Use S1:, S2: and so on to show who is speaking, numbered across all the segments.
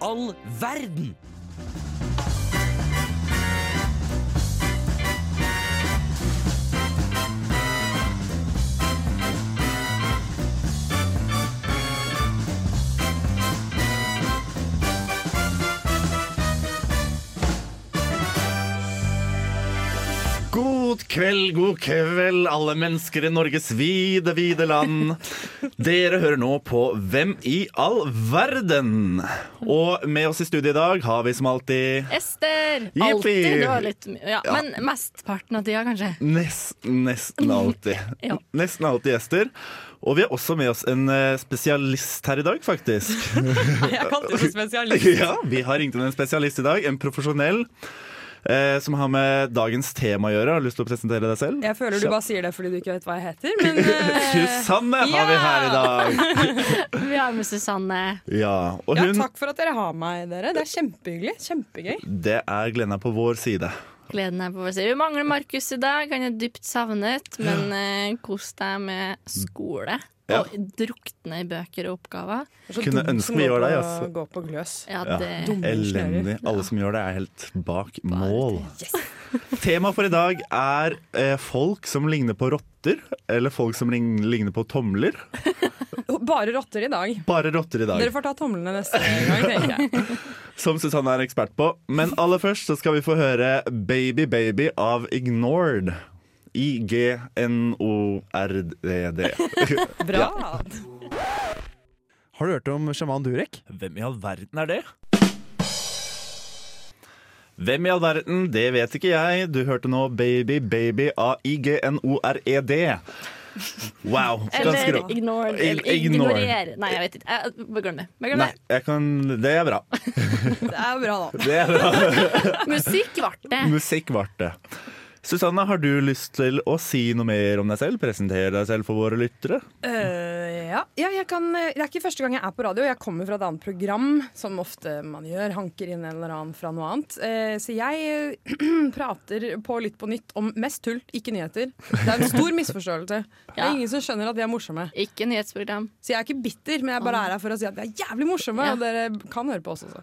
S1: all verden?
S2: God kveld, god kveld, alle mennesker i Norges vide, vide land. Dere hører nå på Hvem i all verden? Og med oss i studio i dag har vi som alltid
S3: Ester!
S2: Jippi!
S3: Alltid. Det var litt my- ja, ja. Men mesteparten av tida, kanskje.
S2: Nes, nesten alltid.
S3: Ja.
S2: Nesten alltid gjester. Og vi har også med oss en eh, spesialist her i dag, faktisk.
S4: Jeg kalte det spesialist.
S2: ja, Vi har ringt inn en spesialist i dag, en profesjonell, eh, som har med dagens tema å gjøre. Har du lyst til å presentere deg selv?
S4: Jeg føler du bare sier det fordi du ikke vet hva jeg heter, men eh,
S2: Susanne har vi her i dag!
S3: Vi har med Susanne.
S2: Ja, og
S4: ja,
S2: hun
S4: takk for at dere har meg, dere. Det er kjempehyggelig. Kjempegøy.
S2: Det er Glenna på vår side.
S3: Gleden er på vår side. Vi mangler Markus i dag. Han er dypt savnet, men eh, kos deg med skole.
S2: Ja.
S3: Og drukne i bøker og oppgaver.
S4: Det er så
S2: Kunne
S4: dumt
S2: ønske
S4: som
S2: vi
S4: går
S2: gjorde
S4: på-
S2: det, altså.
S4: Går på gløs.
S3: Ja,
S2: Ja.
S3: det
S4: Dum.
S2: Elendig. Alle som gjør det, er helt bak mål. Temaet for i dag er eh, folk som ligner på rotter, eller folk som ring- ligner på tomler.
S4: Bare rotter i dag.
S2: Bare rotter i dag,
S4: Dere får ta tomlene neste gang, tenker jeg.
S2: som Susanne er ekspert på. Men aller først så skal vi få høre 'Baby Baby' av Ignored. I-G-N-O-R-D-D.
S4: Bra.
S5: Har du hørt om sjaman Durek?
S2: Hvem i all verden er det? Hvem i all verden, det vet ikke jeg. Du hørte nå Baby Baby A-I-G-N-O-R-E-D. E Wow. Ganske
S3: Eller
S2: rå.
S3: ignore. Eller
S2: Ig- ignore.
S3: ignorere. Nei, jeg vet ikke. Jeg, bare glem det. Bare glem
S2: Nei,
S3: det.
S2: jeg kan Det er bra.
S4: Det er bra, da.
S2: Det er bra.
S3: Musikk ble det.
S2: Musikk ble det. Susanne, har du lyst til å si noe mer om deg selv? Presentere deg selv for våre lyttere?
S4: Eh, ja. ja jeg kan, eh, det er ikke første gang jeg er på radio. Jeg kommer fra et annet program, som ofte man gjør. Hanker inn en eller annen fra noe annet. Eh, så jeg eh, prater på Lytt på nytt om mest tull, ikke nyheter. Det er en stor misforståelse. Det
S3: Ja.
S4: er ingen som skjønner at vi er morsomme.
S3: Ikke nyhetsprogram.
S4: Så jeg er ikke bitter, men jeg bare er her for å si at vi er jævlig morsomme.
S3: Ja.
S4: Og dere kan høre på oss også.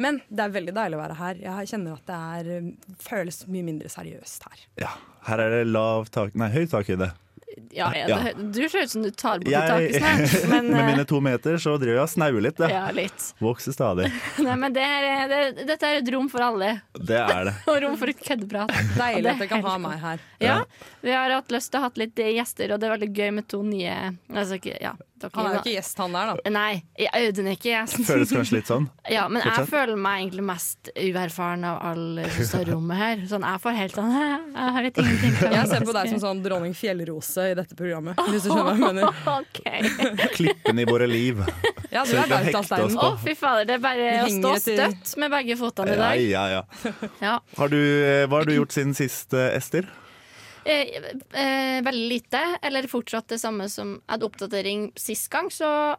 S4: Men det er veldig deilig å være her. Jeg kjenner at det er, eh, føles mye mindre seriøst her.
S2: Ja. Her er det lav tak... Nei, høy takhøyde.
S3: Ja, ja,
S2: Ja.
S3: det- Du ser ut som du tar bort
S2: Jeg-
S3: taket snart, men
S2: Med
S3: eh,
S2: mine to meter så driver jeg og snauer litt. Ja.
S3: ja, litt.
S2: Vokser stadig.
S3: Nei, men det er, eh, det, dette er et rom for alle,
S2: Det er det.
S3: og rom for et køddeprat. Og
S4: Deilig
S3: det
S4: at
S3: er
S4: dere kan
S3: helt
S4: ha
S3: ok.
S4: meg her.
S3: Ja, vi har hatt lyst til å ha litt gjester, og det er veldig gøy med to nye altså, ikke, ja, dere,
S4: Han er jo ikke gjest, han der, da.
S3: Nei, jeg- Audun er ikke gjest.
S2: Føles kanskje litt sånn.
S3: Ja, men jeg
S2: Fortsett.
S3: føler meg egentlig mest uerfaren av alle som står i rommet her. Sånn, jeg får helt sånn «Hæ, Jeg vet ingenting. hva
S4: Jeg ser
S3: jeg
S4: på deg
S3: skal
S4: som sånn dronning fjellrose i dette programmet. Hvis du skjønner hva jeg mener.
S3: gjøre». OK.
S2: Klippen i våre liv.
S4: Ja, du
S2: Så vi
S4: er
S2: kan hekte oss
S4: bautasteinen.
S3: Å, fy fader. Det er bare å
S4: Vi
S3: stå
S4: henger etter-
S3: støtt med begge føttene i
S2: Ja,
S3: dag.
S2: ja, ja.
S3: Ja.
S2: Har du, eh, hva har du gjort siden sist, eh, Ester?
S3: Eh, eh, veldig lite, eller fortsatt det samme som jeg hadde oppdatering sist gang, så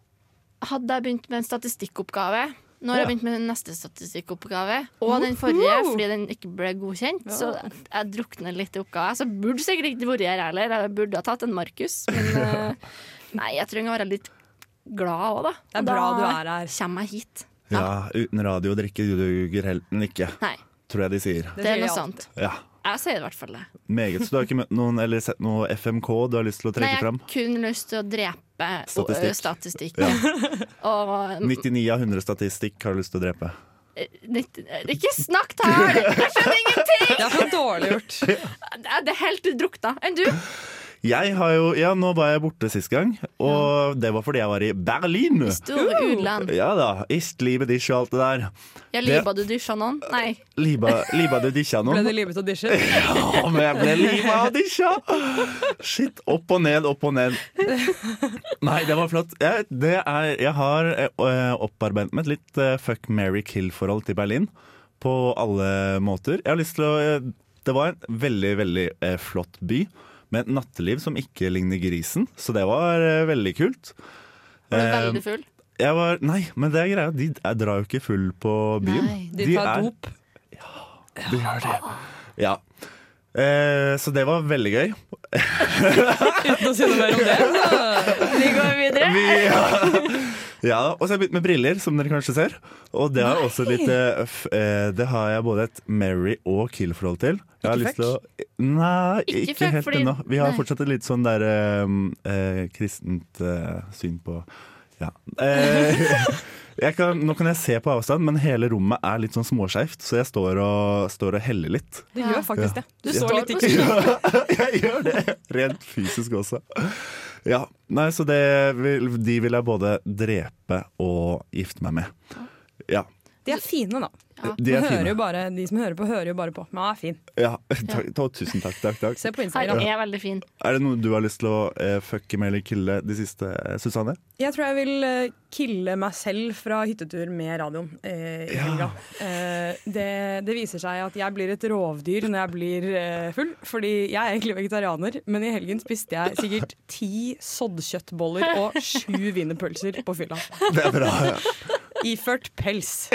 S3: hadde jeg begynt med en statistikkoppgave. Nå har jeg
S2: Ja.
S3: begynt med neste statistikkoppgave, og den forrige, fordi den ikke ble godkjent. Så jeg drukner litt i oppgaver. Så jeg burde sikkert ikke vært her heller. Jeg burde ha tatt en Markus, men eh, nei, jeg trenger å være litt glad òg, da.
S4: Det er
S3: Og
S4: bra
S3: da
S4: du er her.
S3: Kommer jeg hit.
S2: Ja, uten radio drikke duger helten ikke,
S3: Nei,
S2: tror jeg de sier.
S3: det er
S4: sier jeg
S3: noe
S4: alltid.
S3: sånt.
S2: Ja,
S3: Jeg sier det i hvert fall det.
S2: meget. Så du har ikke møtt noen eller sett noe FMK du har lyst til å
S3: Nei,
S2: trekke
S3: jeg har
S2: fram?
S3: kun lyst til å drepe
S2: Statistikk.
S3: statistikk. statistikk. Og
S2: 99 av 100 statistikk har du lyst til å drepe.
S3: Nitt- eh, Ikke snakk tall! Jeg skjønner ingenting!
S4: Det er for dårlig gjort.
S3: Det er helt drukna. Enn du?
S2: Jeg har jo, ja, nå var jeg borte sist gang, og det var fordi jeg var i Berlin.
S3: Store utland.
S2: Ja da, ist, liebe, dich og alt det der.
S3: Ja, liba du dusja noen? Nei.
S2: Liba, liba du dikja
S4: Ble
S2: noen?
S4: det livet og dishet?
S2: Ja, men jeg ble livet av disse. Shit, opp og ned, opp og ned. Nei, det var flott. Jeg, det er, jeg har eh, opparbeidet meg et litt eh, fuck, marry, kill-forhold til Berlin. På alle måter. Jeg har lyst til å eh, Det var en veldig, veldig eh, flott by. Med et natteliv som ikke ligner grisen, så det var eh, veldig kult.
S3: Var du
S2: Eh,
S3: veldig full?
S2: Jeg var, nei, men det er greia. De jeg drar jo ikke full på byen.
S3: Nei,
S4: De
S2: er-
S4: tar dop.
S2: du gjør det. Ja. Eh, så det var veldig gøy.
S4: Uten å si noe mer om det. Så.
S3: Vi går videre.
S2: Vi, ja, og så har jeg begynt med briller, som dere kanskje ser. Og det har jeg også litt eh, f- eh, Det har jeg både et Mary og Kill-forhold til. Jeg har
S4: Ikke
S2: lyst til å Nei,
S3: Ikke
S2: ikke,
S3: fuck,
S2: helt
S3: fordi-
S2: ennå. Vi har
S3: nei.
S2: fortsatt et litt sånn der eh, eh, kristent eh, syn på Ja. Eh, jeg kan, nå kan jeg se på avstand, men hele rommet er litt sånn småskeivt, så jeg står og, står og heller litt.
S4: Du
S3: Ja.
S4: gjør faktisk
S2: Ja.
S4: det. Du
S3: Ja.
S4: står litt i
S3: Står på
S2: Ja, jeg gjør det. Rent fysisk også. Ja, nei, så det vil, de vil jeg både drepe og gifte meg med. Ja.
S4: De er fine, da.
S3: Ja.
S2: De er
S4: Man hører
S2: fine.
S4: jo bare, de som hører på, hører jo bare på. Men han er fin.
S2: Ja, takk, ta- tusen takk, takk, takk.
S4: Se på
S3: Han
S4: Instagram.
S3: er veldig fin.
S2: Er det noe du har lyst til å eh, fucke med eller kille de siste, eh, Susanne?
S4: Jeg tror jeg vil eh, kille meg selv fra hyttetur med radioen eh, i helga. Eh, det, det viser seg at jeg blir et rovdyr når jeg blir eh, full. Fordi jeg er egentlig vegetarianer, men i helgen spiste jeg sikkert ti soddkjøttboller og sju wienerpølser på fylla.
S2: Det er bra. ja.
S4: Iført pels.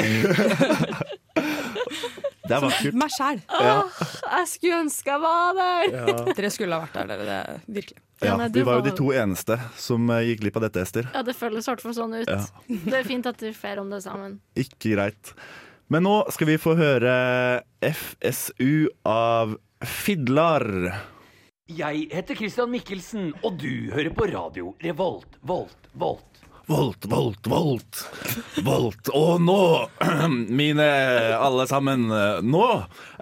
S2: Det er vakkert.
S4: Meg sjæl.
S2: Ja,
S3: Jeg skulle ønske jeg var der!
S2: ja.
S4: Dere skulle ha vært der, dere. Det, virkelig.
S2: ja.
S3: nei, du
S2: Vi var jo
S3: var-
S2: de to eneste som eh, gikk glipp av dette, Ester.
S3: Ja, det føles i hvert fall sånn ut.
S2: Ja.
S3: Det er fint at vi får om det sammen.
S2: Ikke greit. Men nå skal vi få høre FSU av Fidlar.
S1: Jeg heter Christian Mikkelsen, og du hører på radio Revolt, Volt, Volt.
S2: Volt, volt, volt. Volt. Og nå, mine alle sammen, nå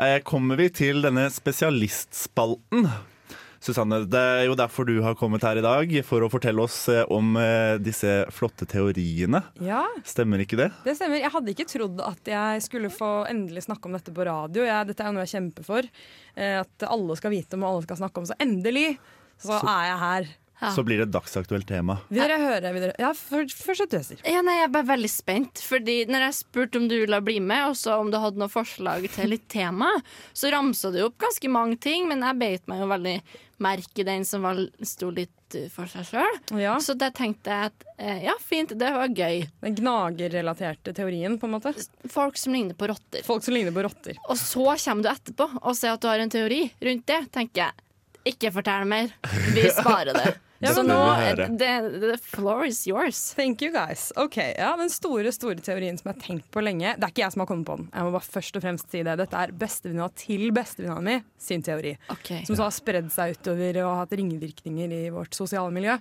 S2: eh, kommer vi til denne spesialistspalten. Susanne, det er jo derfor du har kommet her i dag, for å fortelle oss eh, om eh, disse flotte teoriene.
S4: Ja,
S2: Stemmer ikke det?
S4: Det stemmer. Jeg hadde ikke trodd at jeg skulle få endelig snakke om dette på radio. Jeg, dette er jo noe jeg kjemper for. eh, At alle skal vite om og alle skal snakke om. Så endelig så, er jeg her.
S3: Ja.
S2: Så blir det et dagsaktuelt tema.
S4: Vil dere høre? Vil dere? Ja, først før så døser.
S3: Ja, nei, Jeg er bare veldig spent. Fordi når jeg spurte om du ville bli med, og så om du hadde noen forslag til litt tema, så ramsa du opp ganske mange ting, men jeg beit meg jo veldig merke i den som var, sto litt uh, for seg sjøl.
S4: Ja,
S3: Så da tenkte jeg at eh, ja, fint, det var gøy.
S4: Den gnagerrelaterte teorien, på en måte.
S3: Folk som ligner på rotter.
S4: Folk som ligner på rotter.
S3: Og så kommer du etterpå og sier at du har en teori rundt det, tenker jeg. Ikke fortell mer. Vi sparer det.
S4: Ja,
S3: så
S4: men
S3: nå
S2: det
S3: the,
S2: vil
S3: the floor is yours.
S4: Thank you guys. Ok, ja, Den store store teorien som jeg har tenkt på lenge Det er ikke jeg som har kommet på den. Jeg må bare først og fremst si det Dette er bestevenninna til bestevenninna mi sin teori.
S3: Ok.
S4: Som så har spredd seg utover og hatt ringvirkninger i vårt sosiale miljø.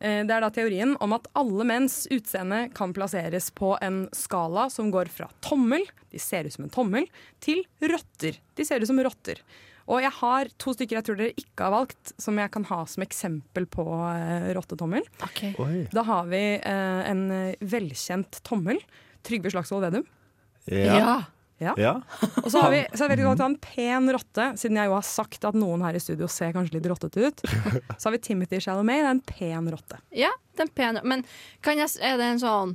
S4: Eh, Det er da teorien om at alle menns utseende kan plasseres på en skala som går fra tommel, de ser ut som en tommel, til rotter. De ser ut som rotter. Og jeg har to stykker jeg tror dere ikke har valgt, som jeg kan ha som eksempel på eh, rottetommel.
S3: Ok.
S2: Oi.
S4: Da har vi eh, en eh, velkjent tommel. Trygve Slagsvold Vedum.
S2: Ja.
S4: Ja.
S2: ja.
S4: Og så har vi så er det veldig godt å ha en pen rotte, siden jeg jo har sagt at noen her i studio ser kanskje litt rottete ut. Så har vi Timothy Chalamet, det er en pen rotte.
S3: Ja, den pene. Men kan jeg, s- er det en sånn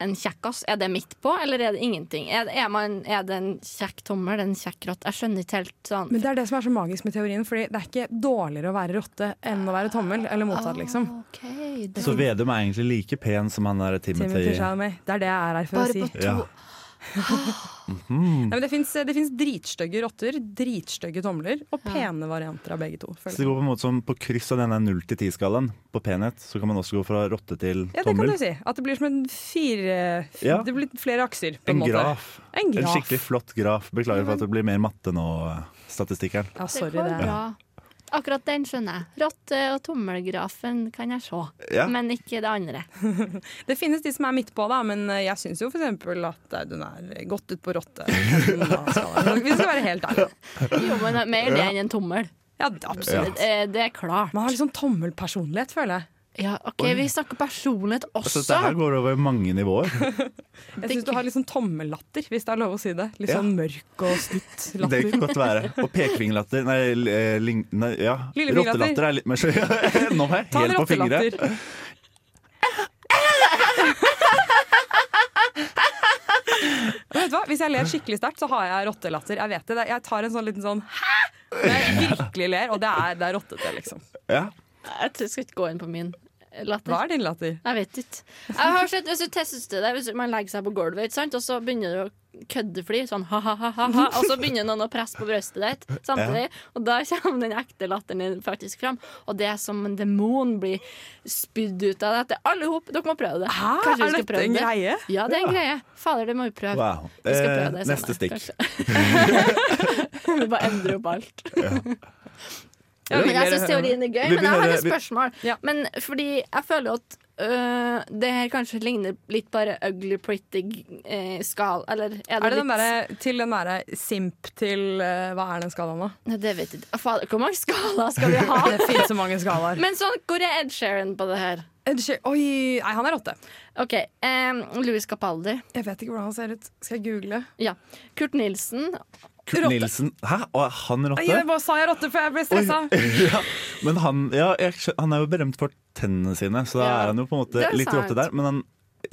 S3: en kjekkas? Er det midt på, eller er det ingenting? Er, det- er, man, er det en kjekk tommel, det er en kjekk rott? Jeg skjønner ikke helt sånn.
S4: Men det er det som er så magisk med teorien, fordi det er ikke dårligere å være rotte enn å være tommel, eller
S3: Ah.
S4: motsatt, liksom.
S3: Ok, det
S2: Så Vedum er egentlig like pen som han der
S4: Timothy
S2: Timothy.
S4: Chalamet. Det er det jeg er her for
S3: bare
S4: å si.
S3: på to.
S2: Ja.
S4: Nei, men det fins det finnes dritstygge rotter, dritstygge tomler og pene varianter av begge to.
S2: Så
S4: Føler
S2: det
S4: jeg.
S2: går på en måte som på kryss av denne 0 til 10-skalaen på penhet, så kan man også gå fra rotte til
S4: Ja, det kan
S2: tommel.
S4: du si. At det blir som en fire
S2: Ja.
S4: Det blir flere akser, på en,
S2: En
S4: måte.
S2: graf.
S4: En
S2: En
S4: graf.
S2: skikkelig flott graf. Beklager for at det blir mer matte nå, statistikkeren.
S4: Ja,
S3: Det
S4: sorry, det.
S3: går
S4: er-
S3: bra. Akkurat den skjønner jeg. Rotte- og tommelgrafen kan jeg se,
S2: Ja.
S3: men ikke det andre.
S4: Det finnes de som er midt på, da, men eh, jeg syns jo f.eks. at hun er godt ut på rotte. Vi skal være helt ærlige.
S3: Jo, men det er mer det enn en tommel.
S4: Ja, det- absolutt.
S3: Eh, Det er klart.
S4: Man har liksom tommelpersonlighet, føler jeg.
S3: Ja, OK, vi snakker personlighet
S2: Altså, dette her
S3: også.
S2: går over mange nivåer.
S4: Jeg syns du har litt sånn tommellatter, hvis det er lov å si det. Litt
S2: Ja.
S4: sånn mørk og snutt
S2: Det
S4: latter.
S2: kan godt være. Og pekefingerlatter Nei, l- eh, ling, nei ja.
S4: Lillefingerlatter.
S2: Rottelatter er litt mer så Nå var jeg
S4: Ta en
S2: helt på fingre.
S4: rottelatter. Vet du hva? Hvis jeg ler skikkelig sterkt, så har jeg rottelatter. Jeg vet det. Det- Jeg tar en sånn liten sånn hæ! Når jeg virkelig ler, og det er, det er rottete, liksom.
S2: Ja.
S3: Jeg tror jeg skal ikke gå inn på min. Eh, latter.
S4: Hva er din latter?
S3: Jeg vet ikke. Jeg har sett, hvis du tester det, hvis man legger seg på gulvet, ikke sant? og så begynner du å køddefli, sånn ha-ha-ha, og så begynner noen å presse på brøstet ditt samtidig, og da kommer den ekte latteren din faktisk fram. Og det er som en demon blir spydd ut av deg. Alle hop, dere må prøve det.
S4: Hæ?
S3: Kanskje vi
S4: Er
S3: skal
S4: dette
S3: prøve
S4: en
S3: det?
S4: greie?
S3: Ja, det er en greie. Fader, det må vi prøve.
S2: Wow.
S3: Vi skal prøve det
S2: Eh, neste
S3: senere,
S2: stikk.
S3: Det bare endrer opp alt.
S4: Jeg vil
S3: men jeg
S4: mer
S3: syns
S4: høre om det.
S3: teorien er gøy,
S2: Vi
S3: men jeg har
S2: begynner-
S3: et spørsmål.
S4: Ja.
S3: Men fordi jeg føler jo at øh, det her kanskje ligner litt bare ugly pretty eh, skal Eller er det,
S4: Er det den
S3: litt
S4: derre til den derre simp til eh, Hva er den skalaen, da?
S3: Nei, det vet jeg ikke. Fader, hvor mange skalaer skal vi ha?
S4: Det finnes så mange skalaer.
S3: men sånn, hvor er Ed Sheeran på det her?
S4: Ed Sheer- Oi, nei, han er åtte.
S3: OK. Um, Louis Capaldi.
S4: Jeg vet ikke hvordan han ser ut. Skal jeg google?
S3: Ja. Kurt Nilsen.
S2: Kurt
S4: Rotte.
S2: Nilsen. Hæ? Og er han
S4: Nei,
S2: rotte?
S4: Jeg bare sa jeg rotte, for jeg ble
S2: Oi.
S4: stressa.
S2: ja. Men han, ja, jeg, skjø- han er jo berømt for tennene sine, så da
S3: Ja,
S2: er han jo på en
S3: det
S2: måte
S3: er
S2: litt
S3: sant.
S2: rotte der. Men han,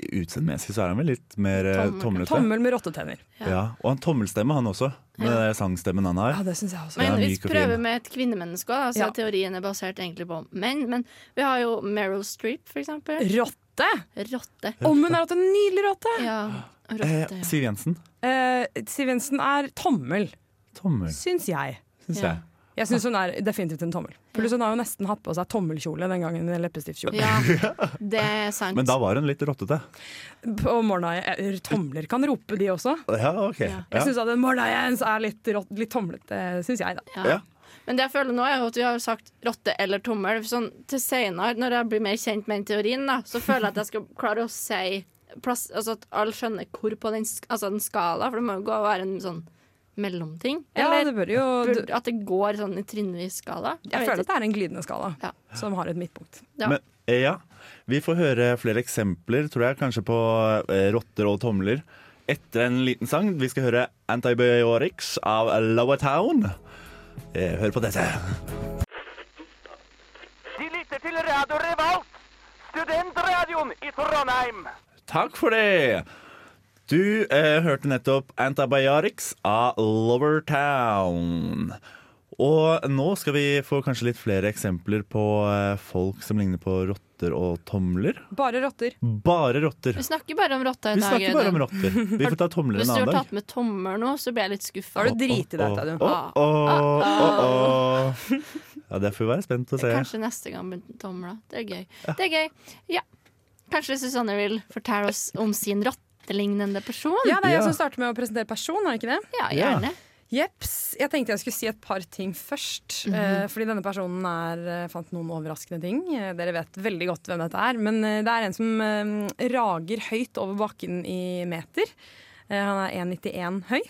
S2: utseendemessig så er han vel litt mer eh,
S3: Tommel-
S2: tomlete.
S4: Tommel med rottetenner.
S3: ja.
S2: Ja, Og han tommelstemme, han også. Med
S3: Ja.
S2: den sangstemmen han har.
S4: Ja, det syns jeg også.
S2: Ja,
S3: Men vi
S2: myk og fin.
S3: prøver med et kvinnemenneske òg, så
S4: Ja.
S3: teorien er basert egentlig på menn. Men vi har jo Meryl Streep, for eksempel.
S4: Rotte?
S3: Rotte.
S4: Om hun er rotte? Nydelig rotte!
S3: Ja,
S2: Eh,
S3: rotte. Ja.
S2: Siv Jensen.
S4: Eh, Siv Jensen er tommel,
S2: Tommel,
S4: syns jeg.
S2: syns
S3: Ja.
S2: jeg.
S4: Jeg syns hun er definitivt en tommel. Pluss hun har jo nesten hatt på seg tommelkjole den gangen. eller Leppestiftkjole.
S3: ja, det er sant.
S2: Men da var hun litt rottete.
S4: På morgenen, eh, tomler kan rope, de også.
S2: Ja, ok.
S3: Ja.
S2: Ja.
S4: Jeg syns at en morna Jens er litt, rott- litt tomlete, syns jeg, da.
S3: Ja.
S2: Ja.
S3: Men det jeg føler nå er jo at vi har sagt rotte eller tommel. Sånn, til senere, når jeg blir mer kjent med den teorien, da, så føler jeg at jeg skal klare å si plass, altså At alle skjønner hvor på den, sk- altså den skala, for det må jo gå og være en sånn mellomting.
S4: Ja,
S3: Eller
S4: det bør jo
S3: burde- at det går sånn i trinnvis skala.
S4: Jeg
S3: vet
S4: føler at
S3: ikke.
S4: det er en glidende skala
S3: Ja.
S4: som har et midtpunkt.
S3: Ja.
S2: Men, eh, ja. Vi får høre flere eksempler, tror jeg, kanskje på eh, rotter og tomler. Etter en liten sang. Vi skal høre Antibiotics av Lower Town. Eh, Hør på dette.
S5: De lytter til Radio Revolt, studentradioen i Trondheim.
S2: Takk for det! Du eh, hørte nettopp Antibiotics av Lovertown. Og nå skal vi få kanskje litt flere eksempler på eh, folk som ligner på rotter og tomler.
S4: Bare rotter.
S2: Bare rotter.
S3: Vi snakker bare om rotta i
S2: Vi
S3: dag.
S2: snakker bare om
S3: Audun.
S2: rotter. Vi får ta tomler
S3: Hvis
S2: en
S3: du har
S2: annen
S3: tatt
S2: dag.
S3: med tommel nå, så blir jeg litt skuffa.
S4: Da har du driti deg ut av det.
S2: Å, å, å, å. Ja, det får vi være spent å se.
S3: Kanskje neste gang med tomla. Det er gøy. Det er gøy. Ja. Kanskje Susanne vil fortelle oss om sin rottelignende person?
S4: Ja, det er
S2: Ja.
S4: jeg som starter med å presentere person, er det ikke det?
S3: Ja, gjerne.
S4: Jeps. Jeg tenkte jeg skulle si et par ting først. eh, fordi denne personen er, eh, fant noen overraskende ting. Eh, dere vet veldig godt hvem dette er. Men eh, det er en som eh, rager høyt over bakken i meter. Eh, han er 1,91 høy.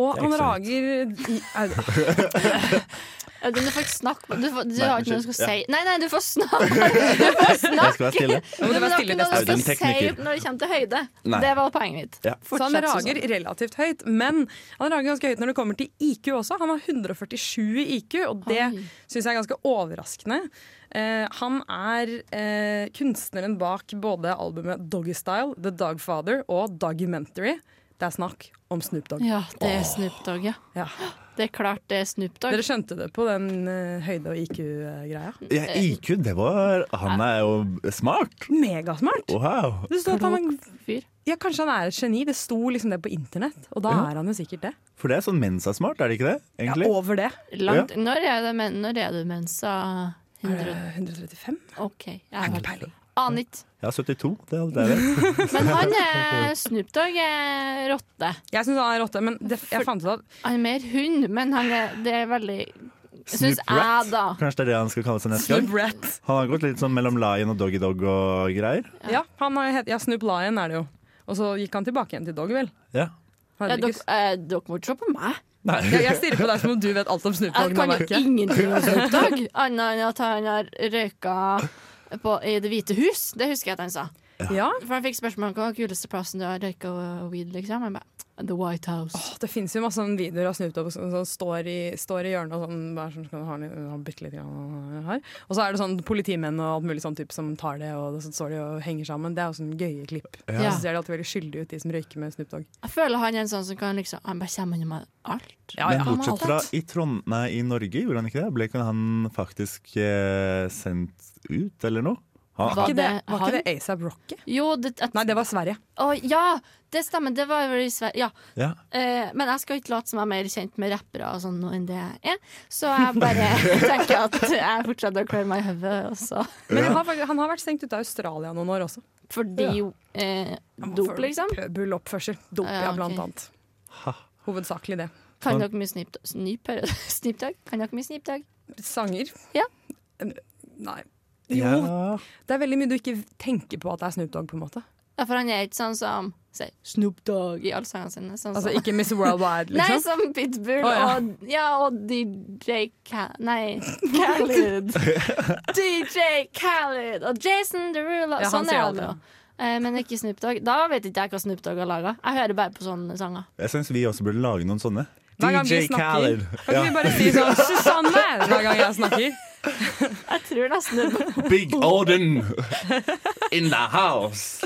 S4: Og
S2: Det er
S4: han
S2: ikke så høyt.
S4: rager i, au,
S3: Audun, du får ikke snakke Du, får, du
S2: Nei,
S3: har ikke noe du
S2: unnskyld.
S3: skal si. Nei, nei, du får snakke! Du får
S2: Jeg
S3: snakke.
S2: skal være stille.
S4: må du
S3: Men
S4: være
S3: det er
S4: stille
S3: ikke noe du
S4: neste
S2: gang.
S3: skal si
S2: Audun, tekniker.
S3: når det kommer til høyde.
S2: Nei.
S3: Det var poenget mitt.
S2: Ja.
S4: Så han
S3: Fortsett,
S4: rager
S3: Susanne.
S4: relativt høyt, men han rager ganske høyt når det kommer til IQ også. Han har 147 i IQ, og det
S3: Oi.
S4: syns jeg er ganske overraskende. Eh, han er eh, kunstneren bak både albumet Doggystyle, The Dogfather og Dogumentary. Det er snakk om Snoop Dogg.
S3: Ja, det er Snoop Dogg, ja.
S4: Ja.
S3: Det er klart det er Snoop Dogg.
S4: Dere skjønte det på den eh, høyde- og IQ-greia?
S2: Ja, IQ, det var Han er jo smart.
S4: Megasmart!
S2: Wow.
S4: Det står at han er,
S3: Fyr.
S4: ja, kanskje han er et geni. Det sto liksom det på internett, og da
S2: Ja.
S4: er han jo sikkert det.
S2: For det er sånn mensa-smart, er det ikke det?
S4: Ja,
S2: Egentlig?
S4: over det.
S3: Langt. Når er det men, når er det mensa? 100?
S4: Eh, 135?
S3: OK.
S4: Har
S3: Jeg
S4: ikke peiling.
S3: aner ikke.
S2: Jeg er 72, det er alt jeg vet.
S3: Men han er Snoop Dogg er rotte.
S4: Jeg syns han er rotte, men det, jeg fant ut at
S3: Han er mer hund, men han er, det er veldig Syns
S2: Snoop Rat.
S3: jeg, da.
S2: Kanskje det er det han skal kalle seg neste gang? Han har gått litt sånn mellom Lion og Doggy Dog og greier.
S4: Ja, han har het, ja, Snoop Lion er det jo. Og så gikk han tilbake igjen til Dog, vel.
S2: Ja.
S4: Har
S3: Ja,
S4: dere
S3: dere,
S4: ikke-
S3: eh, dere må ikke se på meg.
S2: Nei.
S4: Ja, jeg stirrer på deg som om du vet alt om Snoop Dogg.
S3: Jeg kan
S4: nå
S3: jo
S4: merker jeg.
S3: ingenting om Snoop Dogg, annet enn at han har røyka på, i Det hvite hus. Det husker jeg at han sa.
S4: Ja.
S3: For han fikk spørsmål om hva var kuleste plassen du har røyka weed, liksom. Han bare The White House.
S4: Åh, Det fins jo masse sånne videoer av Snoop Dogg som, som står, i, står i hjørnet og sånn bare sånn, skal du ha, litt- ha bitte litt grann her. Og så er det sånn politimenn og alt mulig sånn type som tar det, og så står de og henger sammen. Det er jo sånn gøye klipp.
S3: Ja.
S4: Så ser de alltid veldig skyldige ut, de som røyker med Snoop Dogg.
S3: Jeg føler han er en sånn som kan liksom Han bare kommer gjennom alt.
S4: Ja,
S2: Men
S4: ja.
S2: bortsett fra i, Trond nei, i Norge, gjorde han ikke det? Ble ikke han faktisk eh, sendt ut, eller noe? Ah,
S3: Var
S4: Ikke det,
S3: det
S4: var
S3: han?
S4: ikke det ASAP Rocky?
S3: Jo, det, at,
S4: Nei, det var Sverige.
S3: Å, ja, det stemmer. Det var vel i Sverige. Ja.
S2: Ja.
S3: Eh, men jeg skal ikke late som jeg er mer kjent med rappere og sånn nå enn det jeg er. Så jeg bare tenker at jeg fortsetter å klø meg i hodet også.
S4: Men han har, fakt- han har vært stengt ute av Australia noen år også.
S3: Fordi jo eh, dop, liksom.
S4: P- Bulloppførsel. Dop,
S3: Ja,
S4: ja,
S3: ok.
S4: blant annet. Hovedsakelig det.
S3: Kan dere mye snip, snip, sniptag? Kan dere mye sniptag?
S4: Sanger?
S3: Ja.
S4: Eh, Nei.
S2: Ja.
S4: Jo, det er veldig mye du ikke tenker på at det er Snoop Dogg, på en måte.
S3: Ja, for han er ikke sånn som sier Snoop Dogg i alle sangene sine. Sånn
S4: Altså
S3: som,
S4: ikke Miss Worldwide,
S3: Nei,
S4: liksom.
S3: som Pitbull
S4: Å, ja.
S3: og ja, og DJ Ka Nei, Khaled. DJ Khaled og Jason Derulo.
S4: Ja, han
S3: sånn
S4: sier
S3: er
S4: alt
S3: det
S4: det.
S3: jo. Eh, Men ikke Snoop Dogg. Da vet ikke jeg hva Snoop Dogg har laga. Jeg hører bare på sånne sanger.
S2: Jeg syns vi også burde lage noen sånne.
S4: Hver gang vi
S2: DJ
S4: snakker,
S2: Khaled.
S4: Kan ikke vi bare si sånn Susanne hver gang jeg snakker?
S3: Jeg tror nesten det er
S2: Big Odin in the house.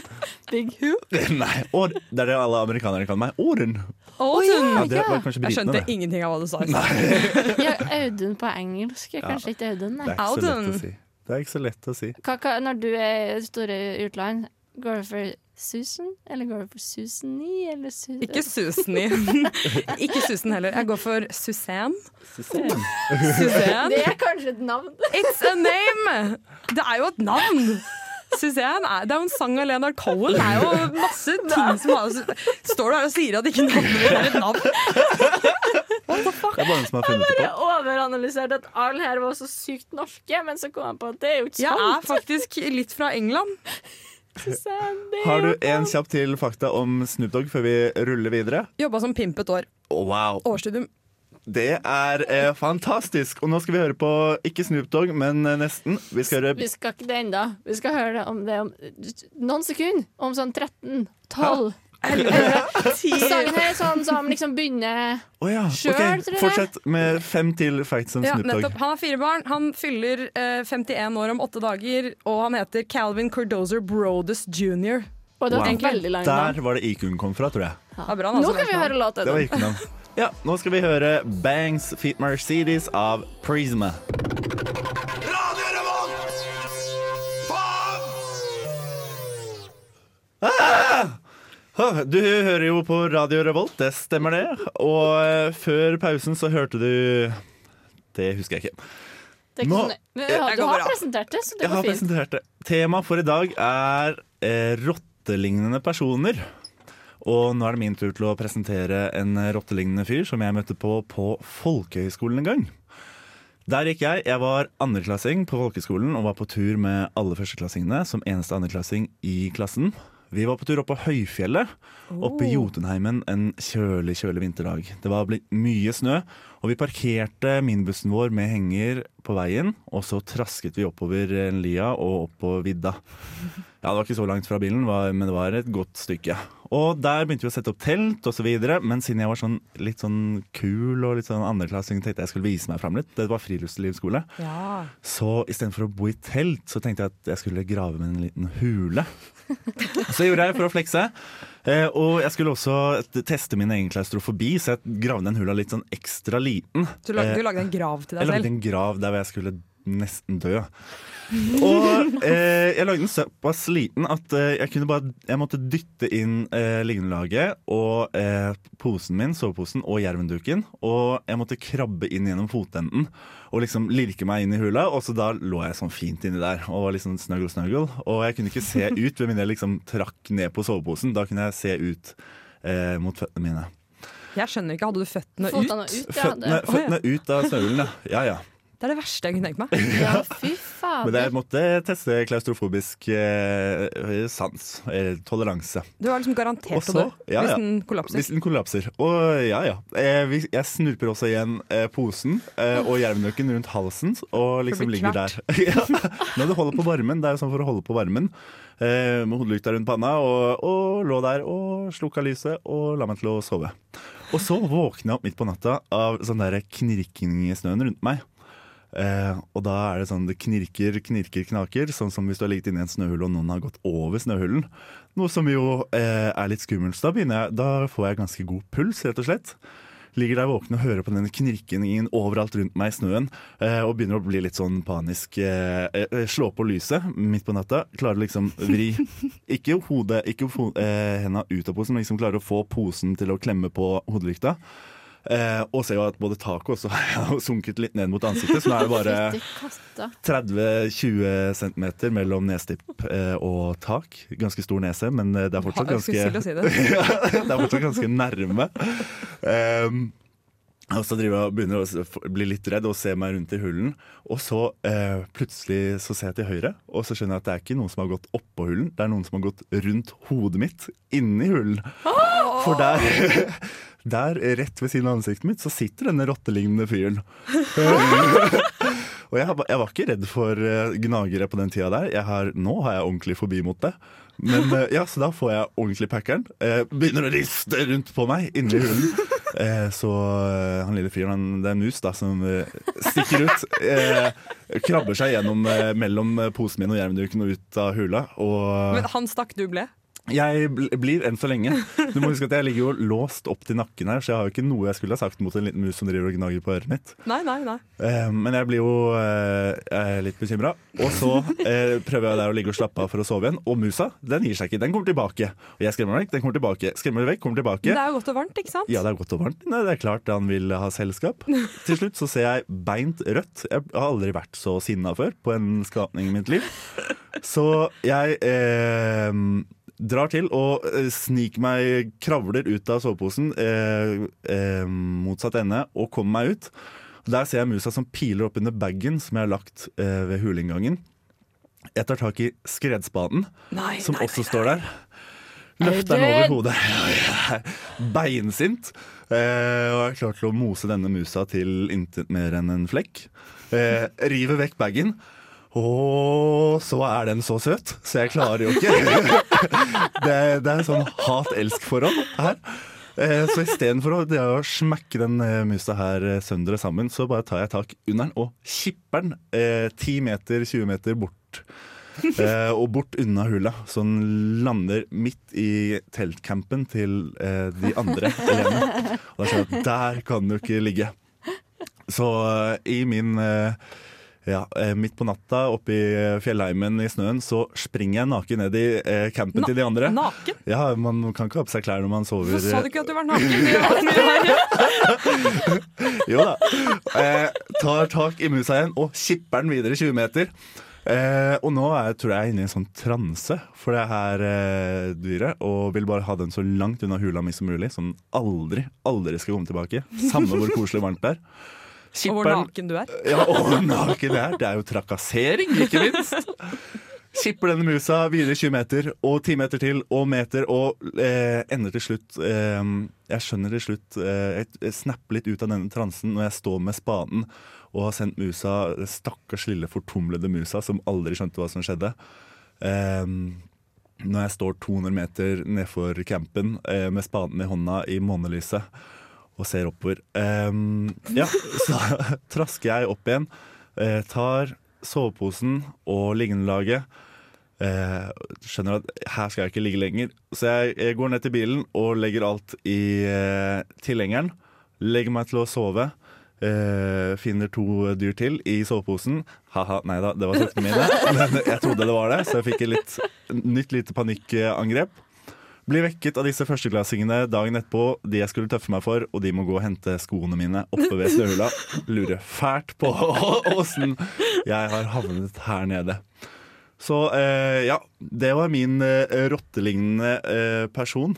S3: Big Who.
S2: Nei, Od- det er det alle amerikanere kaller meg. Odin.
S4: Åsen!
S2: Ja, det
S3: ja.
S2: var kanskje
S4: Jeg
S2: britene,
S4: skjønte
S2: det.
S4: ingenting av hva du sa. i stad.
S3: Ja, Audun på engelsk. Kanskje ikke Audun,
S2: Det
S3: nei.
S2: er ikke så lett
S4: Odin.
S2: å si. Det er ikke så lett å si.
S3: Hva, hva, når du er i store utland, går du for Susan? Eller går du for Susany? Eller Su
S4: Ikke Susan i Ikke Susan heller. Jeg går for Susanne.
S3: Det
S4: Susanne.
S3: er kanskje et navn.
S4: It's a name! Det er jo et navn! Susanne er, det er jo en sang av Leonard Cohen. Det er jo masse ting som har Står du her og sier at ikke navnet ditt er et navn?
S2: Det er bare noen som har funnet det på.
S3: overanalysert at alle her var så sykt norske, men så kom jeg på at det er jo ikke
S4: Jeg er
S3: sant.
S4: faktisk litt fra England.
S2: Har du en kjapp til fakta om Snoop Dogg før vi ruller videre?
S4: Jobba som pimp et år.
S2: Wow.
S4: Årsstudium.
S2: Det er eh, fantastisk! Og nå skal vi høre på ikke Snoop Dogg, men eh, nesten. Vi skal høre
S3: Vi skal ikke det ennå. Vi skal høre det om det om noen sekunder. Om sånn 13, 12 Sangen her er sånn som liksom begynner
S2: Å ja, ok.
S3: Sure, tror jeg.
S2: Fortsett med fem til facts om
S4: Ja,
S2: Snoop Dogg.
S4: nettopp. Han har fire barn, han fyller eh, 51 år om åtte dager, og han heter Calvin Cardozer Brodus jr.
S3: Og det var
S2: Wow.
S3: et veldig langt navn.
S2: Der var det IQ-en kom fra, tror jeg.
S4: Det er bra, han
S3: Nå
S4: altså,
S3: kan vi
S4: navn.
S3: høre låta.
S2: Det var IQ-navn. Ja, nå skal vi høre Bangs Feet Mercedes av Prisma. Ah! Du hører jo på Radio Revolt, det stemmer det. Og eh, før pausen så hørte du Det husker jeg ikke.
S3: Det er ikke
S2: Nå-
S3: sånn, men ja,
S4: Det
S3: du
S4: går
S3: har
S4: bra.
S3: presentert det, så det
S2: Jeg har
S3: går fint.
S2: presentert det. Temaet for i dag er eh, rottelignende personer. Og nå er det min tur til å presentere en rottelignende fyr som jeg møtte på på folkehøyskolen en gang. Der gikk jeg. Jeg var andreklassing på folkehøyskolen og var på tur med alle førsteklassingene som eneste andreklassing i klassen. Vi var på tur opp på Høyfjellet, oppe i Jotunheimen en kjølig, kjølig vinterdag. Det var blitt mye snø, og vi parkerte minibussen vår med henger på veien, og så trasket vi oppover en lia og opp på vidda. Ja, det var ikke så langt fra bilen, var- men det var et godt stykke. Og der begynte vi å sette opp telt osv., men siden jeg var sånn, litt sånn kul og litt sånn andreklassing, tenkte jeg jeg skulle vise meg fram litt. Det var friluftslivsskole.
S4: Ja.
S2: Så istedenfor å bo i telt, så tenkte jeg at jeg skulle grave med en liten hule. Så gjorde jeg for å flekse. Eh, og jeg skulle også t- teste min egen klaustrofobi, så jeg gravde den hula litt sånn ekstra liten.
S4: Du, lagde,
S2: Eh,
S4: du lagde en grav til
S2: jeg
S4: deg selv?
S2: lagde en grav der hvor jeg skulle nesten dø. Og eh, jeg lagde den såpass liten at eh, jeg kunne bare Jeg måtte dytte inn eh, liggeunderlaget og eh, posen min, soveposen og jervenduken. Og jeg måtte krabbe inn gjennom fotenden og liksom lirke meg inn i hula. Og så da lå jeg sånn fint inni der og var liksom snuggle, snuggle. Og jeg kunne ikke se ut ved mindre jeg liksom trakk ned på soveposen. Da kunne jeg se ut eh, mot føttene mine.
S4: Jeg skjønner ikke, hadde du føttene ut?
S3: Fotene ut, ja.
S2: Føttene,
S3: Det.
S2: føttene ut av snøhulen, ja. ja, ja.
S4: Det er det verste jeg kunne tenkt meg.
S3: ja fy
S2: Men jeg
S3: fader.
S2: måtte teste klaustrofobisk eh, sans, eh, toleranse.
S4: Du var liksom garantert
S2: Og
S4: å dø
S2: så- ja,
S4: hvis
S2: ja.
S4: den kollapser.
S2: Hvis den kollapser. Og ja, ja. Eh, vi- jeg snurper også igjen eh, posen eh, og jervnøkken rundt halsen og liksom
S4: blir
S2: ligger der.
S4: kvert.
S2: ja. Når du holder på varmen, det er jo sånn for å holde på varmen. Eh, med hodelykta rundt panna og, og lå der og slukka lyset og la meg til å sove. Og så våkna jeg opp midt på natta av sånn der knirking i snøen rundt meg. Eh, og da er det sånn det knirker, knirker, knaker. Sånn som hvis du har ligget inni en snøhull og noen har gått over snøhullen. Noe som jo eh, er litt skummelt. så Da, begynner jeg, da får jeg ganske god puls, rett og slett. Ligger der våken og hører på denne knirkingen overalt rundt meg i snøen. eh, Og begynner å bli litt sånn panisk. eh, eh, Slå på lyset midt på natta. Klarer liksom vri Ikke hodet, ikke ho eh, henda ut av posen, men liksom klarer å få posen til å klemme på hodelykta. Eh, og ser jo at både taket også har sunket litt ned mot ansiktet, så nå er det bare
S3: Fytti katta.
S2: 30-20 cm mellom nestipp eh, og tak. Ganske stor nese, men eh, det er fortsatt
S4: Ha- jeg skulle
S2: ganske,
S4: til å si det.
S2: ja, det er fortsatt ganske nærme. Ehm, og så driver jeg og begynner å s- bli litt redd og ser meg rundt i hullen. Og så eh, plutselig så ser jeg til høyre, og så skjønner jeg at det er ikke noen som har gått oppå hullen. Det er noen som har gått rundt hodet mitt, inni hullen. For der, der rett ved siden av ansiktet mitt, så sitter denne rottelignende fyren. Og jeg, var- jeg var ikke redd for eh, gnagere på den tida der. Jeg har, nå har jeg ordentlig fobi mot det. Men eh, ja, Så da får jeg ordentlig packeren. Eh, Begynner å riste rundt på meg inni hulen. Eh, Så eh, han lille fyren, han, det er en mus da, som eh, stikker ut. eh, Krabber seg gjennom eh, mellom eh, posen min og jervduken og ut av hula. Og
S4: Men han stakk, du ble.
S2: jeg bl- blir enn så lenge. Du må huske at Jeg ligger jo låst opp til nakken her, så jeg har jo ikke noe jeg skulle ha sagt mot en liten mus som driver og gnager på øret mitt.
S4: Nei, nei, nei.
S2: Eh, Men jeg blir jo eh, jeg er litt bekymra. Og så eh, prøver jeg der å ligge og slappe av for å sove igjen. Og musa den gir seg ikke. Den kommer tilbake. Og jeg skremmer den vekk, den kommer tilbake. Skremmer den vekk, kommer
S4: Men
S2: tilbake.
S4: det er jo godt og varmt, ikke sant?
S2: Ja, det er godt og varmt. Nei, det er klart han vil ha selskap. Til slutt så ser jeg beint rødt. Jeg har aldri vært så sinna før på en skapning i mitt liv. Så jeg eh, drar til og eh, sniker meg, kravler ut av soveposen eh, eh, motsatt ende og kommer meg ut. Der ser jeg musa som piler opp under bagen som jeg har lagt eh, ved huleinngangen. Jeg tar tak i skredspaden,
S4: Nei,
S2: som
S4: nei,
S2: også står der.
S3: Er du
S2: Løfter den
S3: død?
S2: over hodet. Jeg er Beinsint. Eh, og er klar til å mose denne musa til intet mer enn en flekk. Eh, river vekk bagen. Og så er den så søt, så jeg klarer jo ikke. Det, det er sånn hat-elsk-forhold her. Eh, Så istedenfor å, det å smekke den eh, musa her eh, søndre sammen, så bare tar jeg tak under den og kipper den eh, 10 meter, 20 meter bort. Eh, og bort unna hula, så den lander midt i teltcampen til eh, de andre elevene. Og da skjønner jeg at der kan du ikke ligge. Så eh, i min eh, ja, eh, Midt på natta oppe i fjellheimen i snøen så springer jeg naken ned i eh, campen til de andre.
S4: Naken?
S2: Ja, Man kan ikke ha på seg klær når man sover.
S4: Hvorfor sa du ikke at du var naken? Det var så mye verre.
S2: Jo da. Eh, tar tak i musa igjen og kipper den videre 20 meter. Eh, og nå er jeg, tror jeg jeg er inne i en sånn transe for det her eh, dyret. Og vil bare ha den så langt unna hula mi som mulig, så den aldri, aldri skal komme tilbake. Samme hvor koselig og varmt det er.
S4: Og hvor naken du er.
S2: Ja, og naken er. Det er jo trakassering, ikke minst. Skipper denne musa videre 20 meter, og 10 meter til, og meter, og eh, ender til slutt eh, Jeg skjønner til slutt eh, Jeg jeg snapper litt ut av denne transen når jeg står med spaden og har sendt musa, stakkars lille fortumlede musa, som aldri skjønte hva som skjedde. Eh, når jeg står 200 meter nedfor campen eh, med spaden i hånda i månelyset og ser oppover. Ehm, ja, så trasker jeg opp igjen, eh, tar soveposen og lignelaget. Eh, skjønner at her skal jeg ikke ligge lenger. Så jeg, jeg går ned til bilen og legger alt i eh, tilhengeren. Legger meg til å sove. Eh, finner to dyr til i soveposen. Ha-ha, nei da, det var sakene mine. Men jeg trodde det var det, så jeg fikk et litt, nytt lite panikkangrep. Blir vekket av disse førsteklassingene dagen etterpå, de jeg skulle tøffe meg for, og de må gå og hente skoene mine oppe ved snøhula. Lurer fælt på åssen jeg har havnet her nede. Så eh, ja, det var min eh, rottelignende eh, person.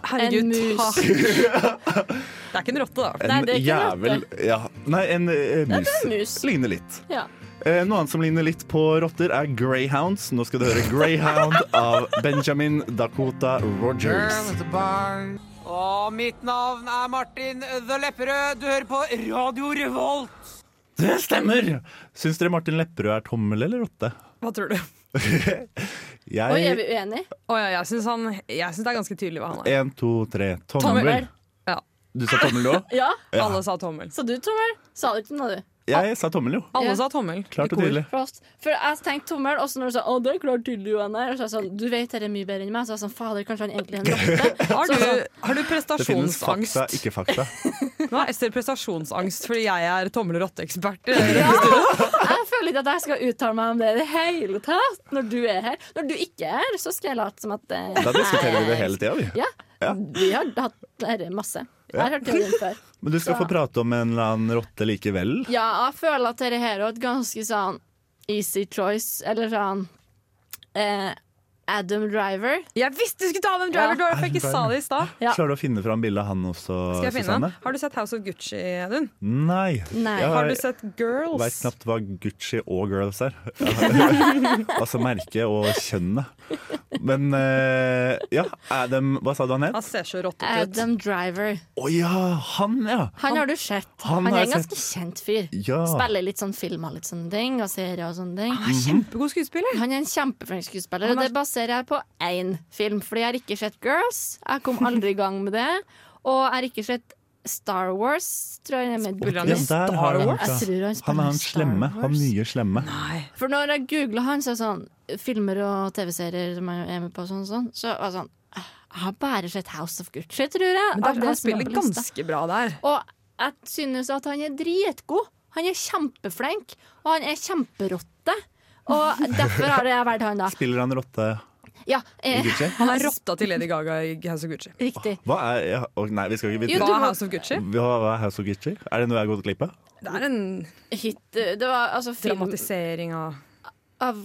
S3: En
S4: Herregud,
S3: mus.
S4: takk. Det er ikke en rotte, da.
S2: En
S3: Nei, det er ikke en
S2: jævel ja, Nei, en eh, mus.
S3: en mus.
S2: Ligner litt.
S3: Ja.
S2: Eh, noe annet som ligner litt på rotter, er greyhounds. Nå skal du høre 'Greyhound' av Benjamin Dakota Rogers.
S5: Og mitt navn er Martin The Lepperød. Du hører på Radio Revolt.
S2: Det stemmer! Syns dere Martin Lepperød er tommel eller rotte?
S4: Hva tror du?
S3: Oi, er vi
S2: Jeg
S3: uenige?
S4: Å ja, jeg syns han Jeg synes det er ganske tydelig hva han er.
S2: Én, to, tre. Tommel.
S3: Tommel.
S4: Ja,
S2: Du sa tommel òg?
S3: Ja?
S2: Ja.
S4: Alle sa tommel.
S3: Sa du tommel? Sa du ikke noe, du?
S2: Jeg sa tommel, jo.
S4: Alle
S3: Ja.
S4: sa tommel.
S2: Klart
S4: i
S2: og
S4: kor.
S2: tydelig.
S3: Prost. For jeg tenkte tommel, og så når du sa å, det er klart tydelig jo han er, så er jeg sånn, du vet dette er mye bedre enn meg, så er jeg sånn, fader, kanskje han egentlig er en rotte.
S4: Har
S3: Så
S4: du,
S3: sånn,
S4: har du
S2: Det finnes fakta,
S4: prestasjonsangst?
S2: ikke fakta.
S4: Nå er Ester prestasjonsangst fordi jeg er tommel- og rotteekspert.
S3: jeg føler ikke at jeg skal uttale meg om det i det hele tatt, når du er her. Når du ikke er her, så skal jeg late som at eh,
S2: Da diskuterer vi det
S3: jeg-
S2: hele tida, vi.
S3: Ja,
S2: Ja.
S3: vi har hatt dette masse. Jeg har hørt teorien før.
S2: Men du skal
S3: Så-
S2: få prate om en eller annen rotte likevel.
S3: Ja, jeg føler at dette her er et ganske sånn easy choice, eller sånn eh, Adam Driver.
S4: Jeg visste du skulle ta den driver,
S3: Ja.
S4: du har derfor ikke sa det i stad.
S3: Ja.
S2: Klarer du å finne fram bildet av han også,
S4: Skal jeg finne den?
S2: Susanne?
S4: Har du sett House of Gucci, Audun?
S2: Nei.
S3: Nei.
S2: Jeg
S4: Har
S2: har,
S4: du sett
S2: vet
S4: Girls?
S2: knapt hva Gucci og girls er. altså merket og kjønnet. Men eh, ja, Adam Hva sa du han het?
S4: Han ser så rottet ut.
S3: Adam Driver.
S2: Å ja, han ja!
S3: Han har du sett.
S2: han
S3: Han
S2: har
S3: er
S2: jeg
S3: en ganske kjent fyr.
S2: Ja.
S3: Spiller litt sånn filmer litt sånne ting, og serier og sånne ting.
S4: Han er
S2: Mhm.
S4: kjempegod skuespiller.
S3: Han er en kjempeflink skuespiller, og det baserer jeg på én film. Fordi jeg har ikke sett Girls. Jeg kom aldri i gang med det. Og jeg har ikke sett Star Wars, tror jeg. Med
S4: Spiller han i
S2: ja
S3: Bullies.
S2: der har du han
S3: Jeg
S2: fra.
S3: tror han
S2: Han
S3: spiller
S2: er han
S3: Star
S2: slemme.
S3: Wars.
S2: Han nye slemme.
S3: For når jeg googla han, så er det sånn filmer og TV-serier som jeg er med på, og sånn, og sånn, så var det sånn Jeg har bare sett House of Gucci, tror jeg.
S4: Men
S3: av
S4: der,
S3: det
S4: han
S3: som er
S4: spiller
S3: på lista.
S4: ganske bra der.
S3: Og jeg synes at han er dritgod. Han er kjempeflink, og han er kjemperotte. Og derfor har jeg valgt han, da.
S2: Spiller han rotte
S3: Ja,
S2: i
S3: eh,
S2: Gucci?
S4: Han er rotta til Lady Gaga i House of Gucci.
S3: riktig.
S2: Hva er ja, å, Nei, vi skal ikke
S3: Jo,
S2: vite
S3: du
S4: Hva er
S3: må-
S4: House of Gucci?
S2: hva, hva er House of Gucci? Er det noe jeg har gått glipp av?
S4: Det er en
S3: Hit, det var altså film
S4: dramatisering av
S3: av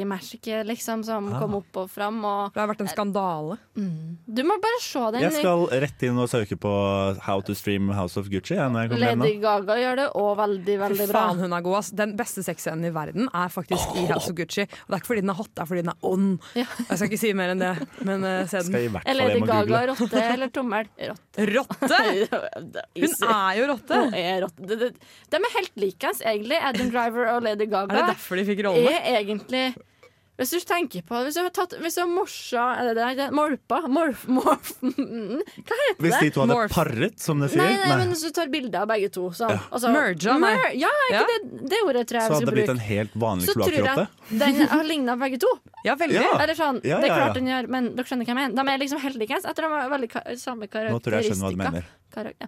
S3: Gucci-massacre liksom, som
S2: Ah.
S3: kom opp og fram. Og
S4: Det har vært en skandale.
S3: du må bare se den.
S2: Jeg skal rett inn og søke på How to stream House of Gucci. Ja, når jeg kommer hjem nå.
S3: Lady Gaga gjør det òg veldig, veldig bra.
S4: Faen, hun er god, ass. Den beste sexscenen i verden er faktisk i House of Gucci. Og det er ikke fordi den er hot, det er fordi den er on.
S3: Ja.
S4: Jeg skal ikke si mer enn det, men eh, se
S2: Skal
S4: den.
S2: jeg i hvert
S3: Er
S2: fall
S3: Lady
S2: hjem og
S3: Gaga
S2: google.
S3: rotte eller tommel? Rotte.
S4: Rotte! Hun er jo rotte!
S3: Hun er rotte. De, de, de er helt likens, egentlig. Adam Driver og Lady
S4: Er det
S3: Gaga
S4: derfor de fikk rollene?
S3: er egentlig hvis du tenker på Hvis du har, tatt, hvis du har morsa er det det, det- Morpa? Morf... morf mm, hva heter
S2: Hvis de
S3: det?
S2: to hadde
S4: Morph.
S2: parret, som de sier,
S3: Nei, nei, men hvis du tar bilde av begge to sånn. og så-
S4: Merger, nei.
S3: Mer- Ja, er
S4: Ja.
S3: ikke det, det ordet tror jeg
S2: så
S3: vi
S2: hadde det
S3: skal
S2: blitt
S3: bruke.
S2: en helt vanlig
S3: Så tror jeg
S2: kloakkrotte.
S3: den har ligna begge to.
S4: Ja, veldig.
S2: Ja.
S3: Eller sånn,
S2: Ja,
S3: det er
S2: ja, ja.
S3: klart den gjør, men dere skjønner hva jeg mener. De er liksom helt likens. Etter de har veldig ka samme karakteristikker.
S2: Nå tror jeg jeg skjønner hva du mener.
S3: Karak- ja.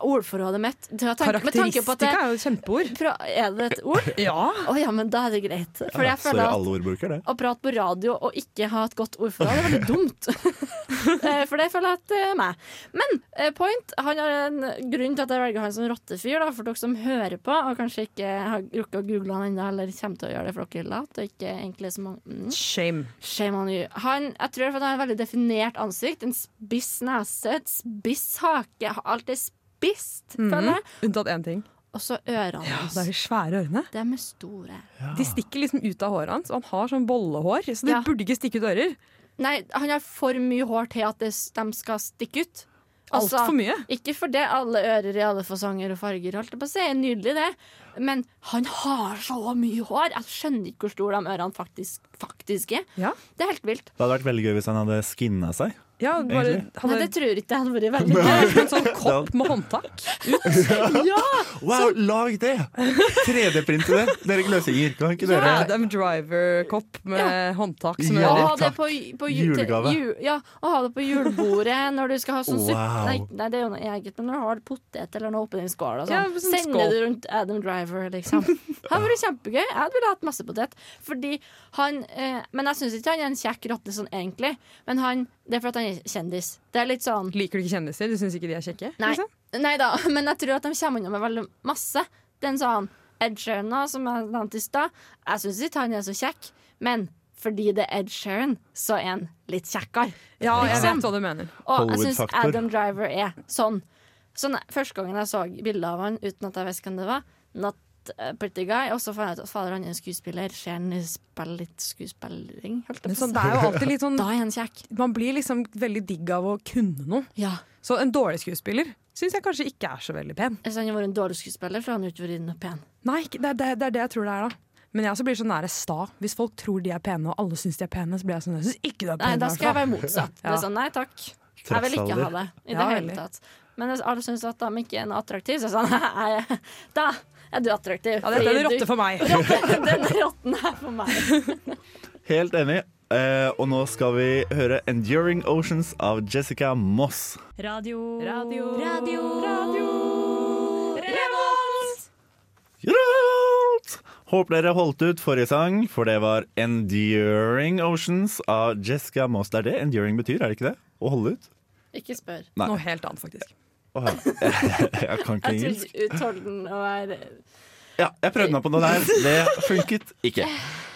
S3: Ordforrådet mitt det var tanke, Med tanke på at
S4: Karakteristikk
S3: det,
S4: er jo et kjempeord.
S3: pra, Er det et ord?
S4: Ja.
S3: Å ja, men da er det greit. For
S2: Ja,
S3: jeg
S2: Sorry,
S3: føler at
S2: alle ordbruker det.
S3: å prate på radio og ikke ha et godt ordforråd, det er veldig dumt. Eh, for det føler jeg at det er meg. Men eh, Point han har en grunn til at jeg velger han som rottefyr, da, for dere som hører på og kanskje ikke har rukket å google han ennå, eller kommer til å gjøre det for dere er late og ikke egentlig så mange mm.
S4: Shame.
S3: Shame on you. Han, jeg tror han har et veldig definert ansikt. En spiss nese, et spiss hake. Alt er spisst, føler jeg.
S4: Unntatt én ting.
S3: Og så ørene
S4: Mhm. Ja,
S3: hans.
S4: det er de svære ørene.
S3: De er store.
S4: De stikker liksom ut av håret hans, og han har sånn bollehår, så det
S3: Ja.
S4: burde ikke stikke ut ører.
S3: Nei, han har for mye hår til at det, de skal stikke ut. Altså,
S4: Alt for mye.
S3: Ikke fordi alle ører i alle fasonger og farger, holdt jeg på å si. Nydelig, det. Men han har så mye hår! Jeg skjønner ikke hvor store de ørene faktisk, faktisk er.
S4: Ja,
S3: Det er helt vilt.
S2: Det hadde vært veldig gøy hvis han hadde skinna seg.
S4: ja bare
S2: Egentlig.
S4: hadde
S3: Nei, det tror jeg ikke det hadde vært veldig
S4: Det er liksom en sånn kopp med håndtak.
S2: Wow, lag det! 3D-printe det! Dere løsgjenger. Kan ikke dere
S3: Ja.
S4: Adam Driver-kopp med håndtak som
S2: Ja.
S3: Å
S4: ører.
S3: ha det
S2: takk.
S3: på, på ju- til-
S2: Julegave.
S3: Ju, ja, å ha det på julebordet når du skal ha sånn suppe
S2: Wow.
S3: nei, nei, det er jo noe eget, men når du har potet eller noe oppi den skåla, sånn.
S4: Ja, sånn
S3: sender
S4: skål.
S3: du rundt Adam Driver, liksom. Det hadde vært kjempegøy. Jeg ville hatt masse potet. Fordi han eh, Men jeg syns ikke han er en kjekk rotte sånn egentlig, men han Det er fordi han er kjendis. Det er litt sånn
S4: Liker du ikke kjendiser? Du syns ikke de er kjekke?
S3: Nei.
S4: liksom?
S3: Nei da, men jeg tror at de kommer unna med veldig masse. Den sånn Ed Sheeran også, som jeg nevnte i stad. Jeg syns ikke han er så kjekk, men fordi det er Ed Sheeran, så er han litt kjekkere.
S4: Ja, jeg
S3: Liksom.
S4: vet hva du mener.
S3: Og jeg syns
S2: Hollywood-faktor.
S3: Adam Driver er sånn. Så ne- Første gangen jeg så bildet av han uten at jeg visste hvem det var, Not a Pretty Guy, og så fant jeg ut at fader, han er en skuespiller. Ser han spiller litt skuespilling? Holdt
S4: Men
S3: jeg på
S4: sånn,
S3: å
S4: det er jo alltid litt
S3: si.
S4: sånn
S3: Da er han kjekk.
S4: Man blir liksom veldig digg av å kunne noe.
S3: Ja.
S4: Så en dårlig skuespiller syns jeg kanskje ikke er så veldig pen.
S3: Hvis han hadde vært en dårlig skuespiller, så hadde han jo ikke vært noe pen.
S4: Nei, ikke- det, er- det, er- det er det jeg tror det er, da. Men jeg også blir så nære sta. Hvis folk tror de er pene, og alle syns de er pene, så blir jeg sånn Jeg syns ikke du er pen.
S3: Nei, da
S4: i hvert
S3: skal jeg
S4: fall."
S3: være motsatt. Det
S4: Ja.
S3: er sånn, nei takk. Jeg vil ikke ha det i det
S4: Ja, veldig.
S3: altså, hele tatt. Men hvis alle syns at de ikke er noe attraktive, så er det sånn, nei, da er du attraktiv.
S4: Ja, dette er en
S3: Fordi
S4: rotte for meg.
S3: du- Denne rotten er for meg.
S2: Helt enig. Eh, og nå skal vi høre 'Enduring Oceans' av Jessica Moss.
S6: Radio.
S4: Radio.
S6: Radio.
S2: Gjort! Håper dere holdt ut forrige sang, for det var 'Enduring Oceans' av Jessica Moss. Det er det 'enduring' betyr, er det ikke det? Å holde ut?
S3: Ikke spør.
S2: Nei.
S4: Noe helt annet, faktisk.
S2: Å, her- jeg kan ikke
S3: Jeg
S2: engelsk.
S3: trodde utholden og er
S2: Ja, jeg prøvde meg på noe der. Det funket ikke.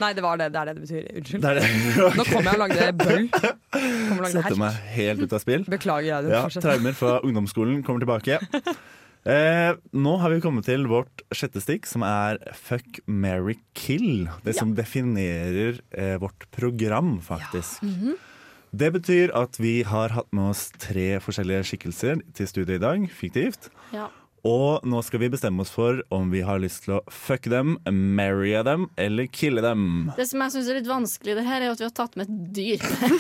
S4: Nei, det var det. Det er det det betyr. Unnskyld.
S2: Det er det.
S4: Nå kom jeg og lagde bøll. Kom og lagde
S2: Sette
S4: herk.
S2: meg helt ut av spill.
S4: Beklager, jeg.
S2: Ja,
S4: fortsett.
S2: traumer fra ungdomsskolen kommer tilbake. Eh, nå har vi kommet til vårt sjette stikk, som er Fuck, marry, kill. Det som definerer eh, vårt program, faktisk.
S3: Mhm.
S2: Det betyr at vi har hatt med oss tre forskjellige skikkelser til studiet i dag, fiktivt.
S3: Ja.
S2: Og nå skal vi bestemme oss for om vi har lyst til å fucke dem, marry dem eller kille dem.
S3: Det som jeg syns er litt vanskelig i det her, er jo at vi har tatt med et dyr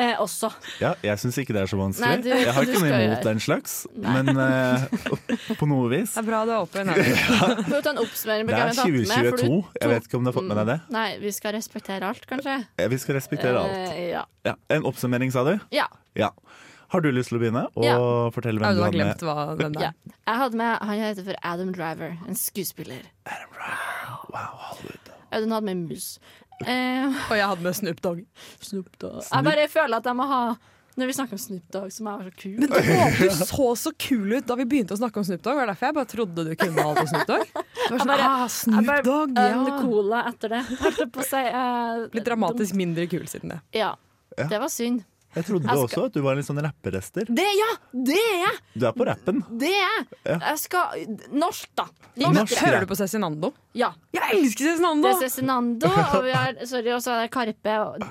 S3: eh, også.
S2: Ja, jeg syns ikke det er så vanskelig.
S3: Nei, du-
S2: jeg har
S3: du
S2: ikke noe
S3: skal
S2: imot
S3: gjøre-
S2: den slags, men eh, på noe vis.
S4: Det er bra du er åpen. Her.
S3: For å ta en oppsummering på
S2: Det
S3: hva
S2: er
S3: vi har tatt med, for du-
S2: 2022. Jeg vet ikke om du har fått med deg det.
S3: Nei, vi skal respektere alt, kanskje.
S2: Eh, Vi skal respektere alt.
S3: Eh, ja.
S2: Ja. En oppsummering, sa du?
S3: ja.
S2: Ja. Har du lyst til å begynne og
S3: Ja.
S2: fortelle
S4: Ja,
S2: hvem
S4: du
S2: du
S4: har
S2: har
S4: glemt
S2: med?
S4: hva den der
S3: ja. Jeg hadde med Han heter for Adam Driver, en skuespiller. Audun hadde med mus. Eh,
S4: Og jeg hadde med Snoop Dogg.
S3: Snoop Dogg. Jeg bare føler at jeg må ha Når vi snakker om Snoop Dogg, så må jeg være så kul.
S4: Men du, å, du så så kul ut da vi begynte å snakke om Snoop Dogg. Det var derfor jeg bare trodde du kunne alt om Snoop Dogg. Du var sånn,
S3: bare-
S4: ah,
S3: Jeg
S4: Snoop
S3: bare
S4: Dogg,
S3: øl
S4: ja.
S3: cola etter det. Holdt jeg på å si. eh,
S4: Blitt dramatisk mindre kul siden det.
S3: Ja. Det var synd.
S2: Jeg trodde
S3: Jeg skal-
S2: også at du var en litt sånn rapperester.
S3: Det, ja! Det er jeg!
S2: Du er på rappen.
S3: Det er jeg! Jeg skal Norsk, da.
S2: Norsk
S4: Hører
S2: rap.
S4: du på Cezinando?
S3: Ja.
S4: Jeg elsker Cezinando!
S3: Det er Cezinando, og vi har, sorry, og så er det Karpe, og,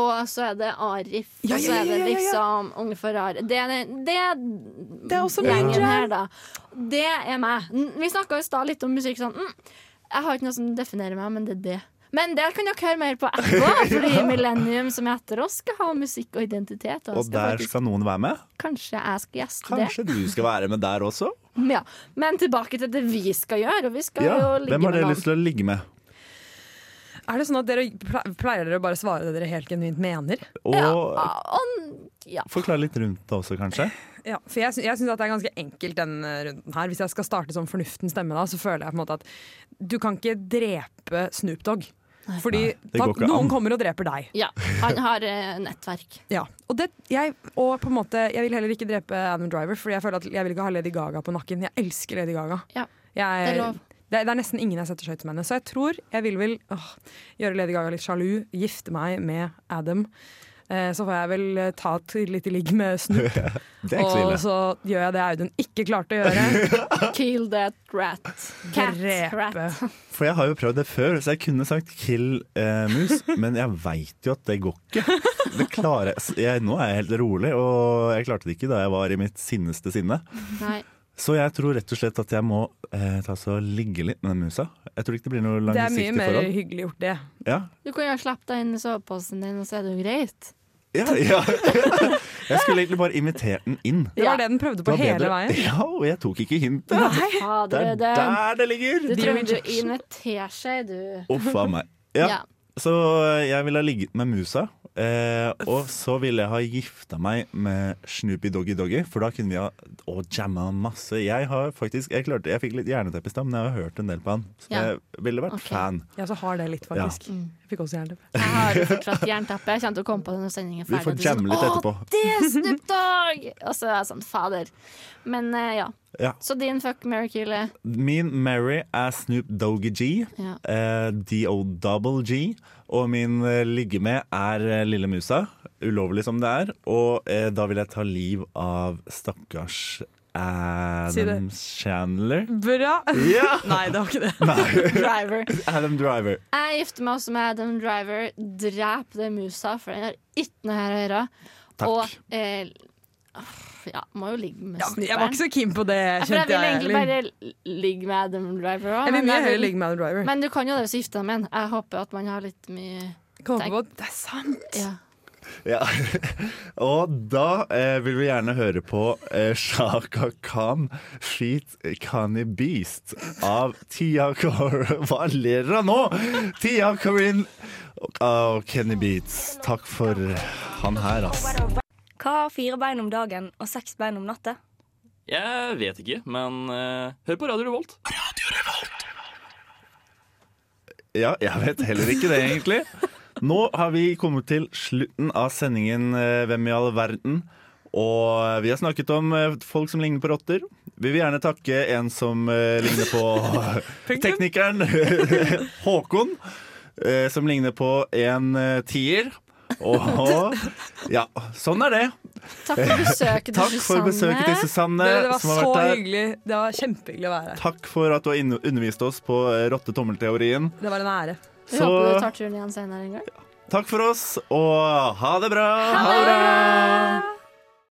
S3: og så er det Arif,
S4: Ja,
S3: og
S4: ja,
S3: så
S4: ja,
S3: er det
S4: ja, ja, ja.
S3: liksom Unge Ferrari. Det er, den- det er
S4: Det er også min
S3: gjengen
S4: jam.
S3: her, da. Det er meg. N- Vi snakka i stad litt om musikk sånn mm, Jeg har ikke noe som definerer meg, men det er det. Men det kan dere høre mer på etterpå, fordi Millennium som er etter oss, skal ha musikk og identitet. Og
S2: Og
S3: skal
S2: der
S3: faktisk,
S2: skal noen være med.
S3: kanskje jeg skal gjeste
S2: Kanskje du skal være med der også?
S3: det. Ja. Men tilbake til det vi skal gjøre, og vi skal jo
S2: Ja.
S3: ligge
S2: Hvem har
S3: med
S2: dere
S3: noen.
S2: lyst til å ligge med?
S4: Er det sånn at dere ple- pleier dere å bare svare det dere helt genuint mener?
S2: Og
S3: Ah, og- ja.
S2: forklare litt rundt det også, kanskje.
S4: Ja, for jeg, sy- jeg syns det er ganske enkelt den eh, runden her. Hvis jeg skal starte som fornuftens stemme, da, så føler jeg på en måte at du kan ikke drepe Snoop Dogg. Fordi
S2: det går
S4: da-
S2: ikke an.
S4: noen kommer og dreper deg.
S3: Ja, han har eh, nettverk.
S4: Ja, og, det, jeg, og på en måte, jeg vil heller ikke drepe Adam Driver, Fordi jeg føler at jeg vil ikke ha Lady Gaga på nakken. Jeg elsker Lady Gaga.
S3: Ja,
S4: Jeg,
S3: det er lov.
S4: Det, det er nesten ingen jeg setter skøyt som henne. Så jeg tror jeg vil vel åh, gjøre Lady Gaga litt sjalu, gifte meg med Adam. Eh, så får jeg vel eh, ta et litt i ligg med Snoop,
S2: Det er ikke så
S4: og
S2: ille.
S4: så gjør jeg det Audun ikke klarte å gjøre.
S3: Kill that rat. Cat, rat.
S4: Drepe.
S2: For jeg har jo prøvd det før, så jeg kunne sagt 'kill eh, mus', men jeg veit jo at det går ikke. Det klarer jeg. Så jeg. Nå er jeg helt rolig, og jeg klarte det ikke da jeg var i mitt sinneste sinne.
S3: Nei.
S2: Så jeg tror rett og slett at jeg må eh, ta så ligge litt med den musa. Jeg tror ikke det blir noe
S4: Det er mye
S2: langsiktig
S4: mer
S2: forhold.
S4: hyggelig gjort, det.
S2: Ja.
S3: Du kan jo ha slappet deg inn i soveposen din, og så er det jo greit.
S2: Ja, ja. Jeg skulle egentlig bare invitert den inn.
S4: Det
S3: Ja.
S4: var det den prøvde
S2: Det
S4: på
S2: var
S4: hele
S2: bedre.
S4: veien.
S2: Ja, og jeg tok ikke hintet.
S4: Nei.
S3: Ha
S2: Det
S3: det,
S2: er
S3: det.
S2: der det ligger.
S3: Du trenger ikke å invitere seg, du.
S2: Uff a meg.
S3: Ja.
S2: Ja. Så eh, jeg ville ha ligget med musa. Eh, og så ville jeg ha gifta meg med Snoopy Doggy Doggy, for da kunne vi ha å, jamma masse. Jeg har faktisk, jeg klarte, jeg fikk litt jerneteppe i stad, men jeg har hørt en del på han. Så
S3: Ja.
S2: jeg ville vært
S3: Ok.
S2: fan.
S4: Ja, så har det litt, faktisk.
S3: Mm.
S4: Jeg fikk også jernteppe.
S3: Jeg har jo fortsatt jernteppe. Jeg kommer til å komme på det når sendingen er
S2: Vi
S3: ferdig.
S2: får
S3: og du er
S2: jamme litt
S3: sånn,
S2: etterpå.
S3: «Å, Det er Snoop Dogg! Og så er jeg sånn, fader. Men eh, ja.
S2: Ja.
S3: Så din fuck Mary Kill er
S2: Min Mary er Snoop Doggy G,
S3: Ja.
S2: eh, D.O. G, og min eh, ligge med er eh, Lille Musa, ulovlig som det er. Og eh, da vil jeg ta liv av stakkars
S4: Si det. Mm.
S2: Adam Chandler.
S4: Bra!
S2: Ja!
S4: Nei, det var ikke det.
S3: driver.
S2: Adam Driver.
S3: Jeg gifter meg også med Adam Driver. Drep det musa, for den har ikke noe her å gjøre.
S2: Takk.
S3: Og eh, åh, ja, må jo ligge med
S4: Ja,
S3: snooperen.
S4: jeg var ikke så keen på det,
S3: Ja, for jeg
S4: kjente
S3: vil
S4: jeg
S3: egentlig
S4: heller.
S3: bare l- ligge med Adam Driver òg.
S4: Jeg vil mye heller ligge med Adam Driver.
S3: men du kan jo det hvis du gifter deg med en. Jeg håper at man har litt mye
S4: Kommer på at det er sant!
S3: ja.
S2: Ja. Og da eh, vil vi gjerne høre på eh, Shaka Khan Feet Kanye Beast av Tia Cor... Hva ler dere av nå? Tia Corin og Kenny Beats. Takk for han her, ass.
S6: Hva har fire bein om dagen og seks bein om natta?
S7: Jeg vet ikke, men eh, hør på Radio Revolt.
S2: Ja, jeg vet heller ikke det, egentlig. Nå har vi kommet til slutten av sendingen eh, Hvem i all verden? Og vi har snakket om eh, folk som ligner på rotter. Vi vil gjerne takke en som eh, ligner på teknikeren Håkon. eh, Som ligner på en eh, tier. Og ja, sånn er det.
S3: Takk for besøket til
S2: Takk for besøket til Susanne.
S4: Dere, det var
S2: som
S4: så
S2: har vært her.
S4: hyggelig. Det var kjempehyggelig å være her.
S2: Takk for at du har inne- undervist oss på eh, rottetommelteorien.
S4: Det var en ære.
S3: Vi håper du tar turen igjen senere en gang.
S2: Takk for oss, og ha det bra!
S3: Ha det!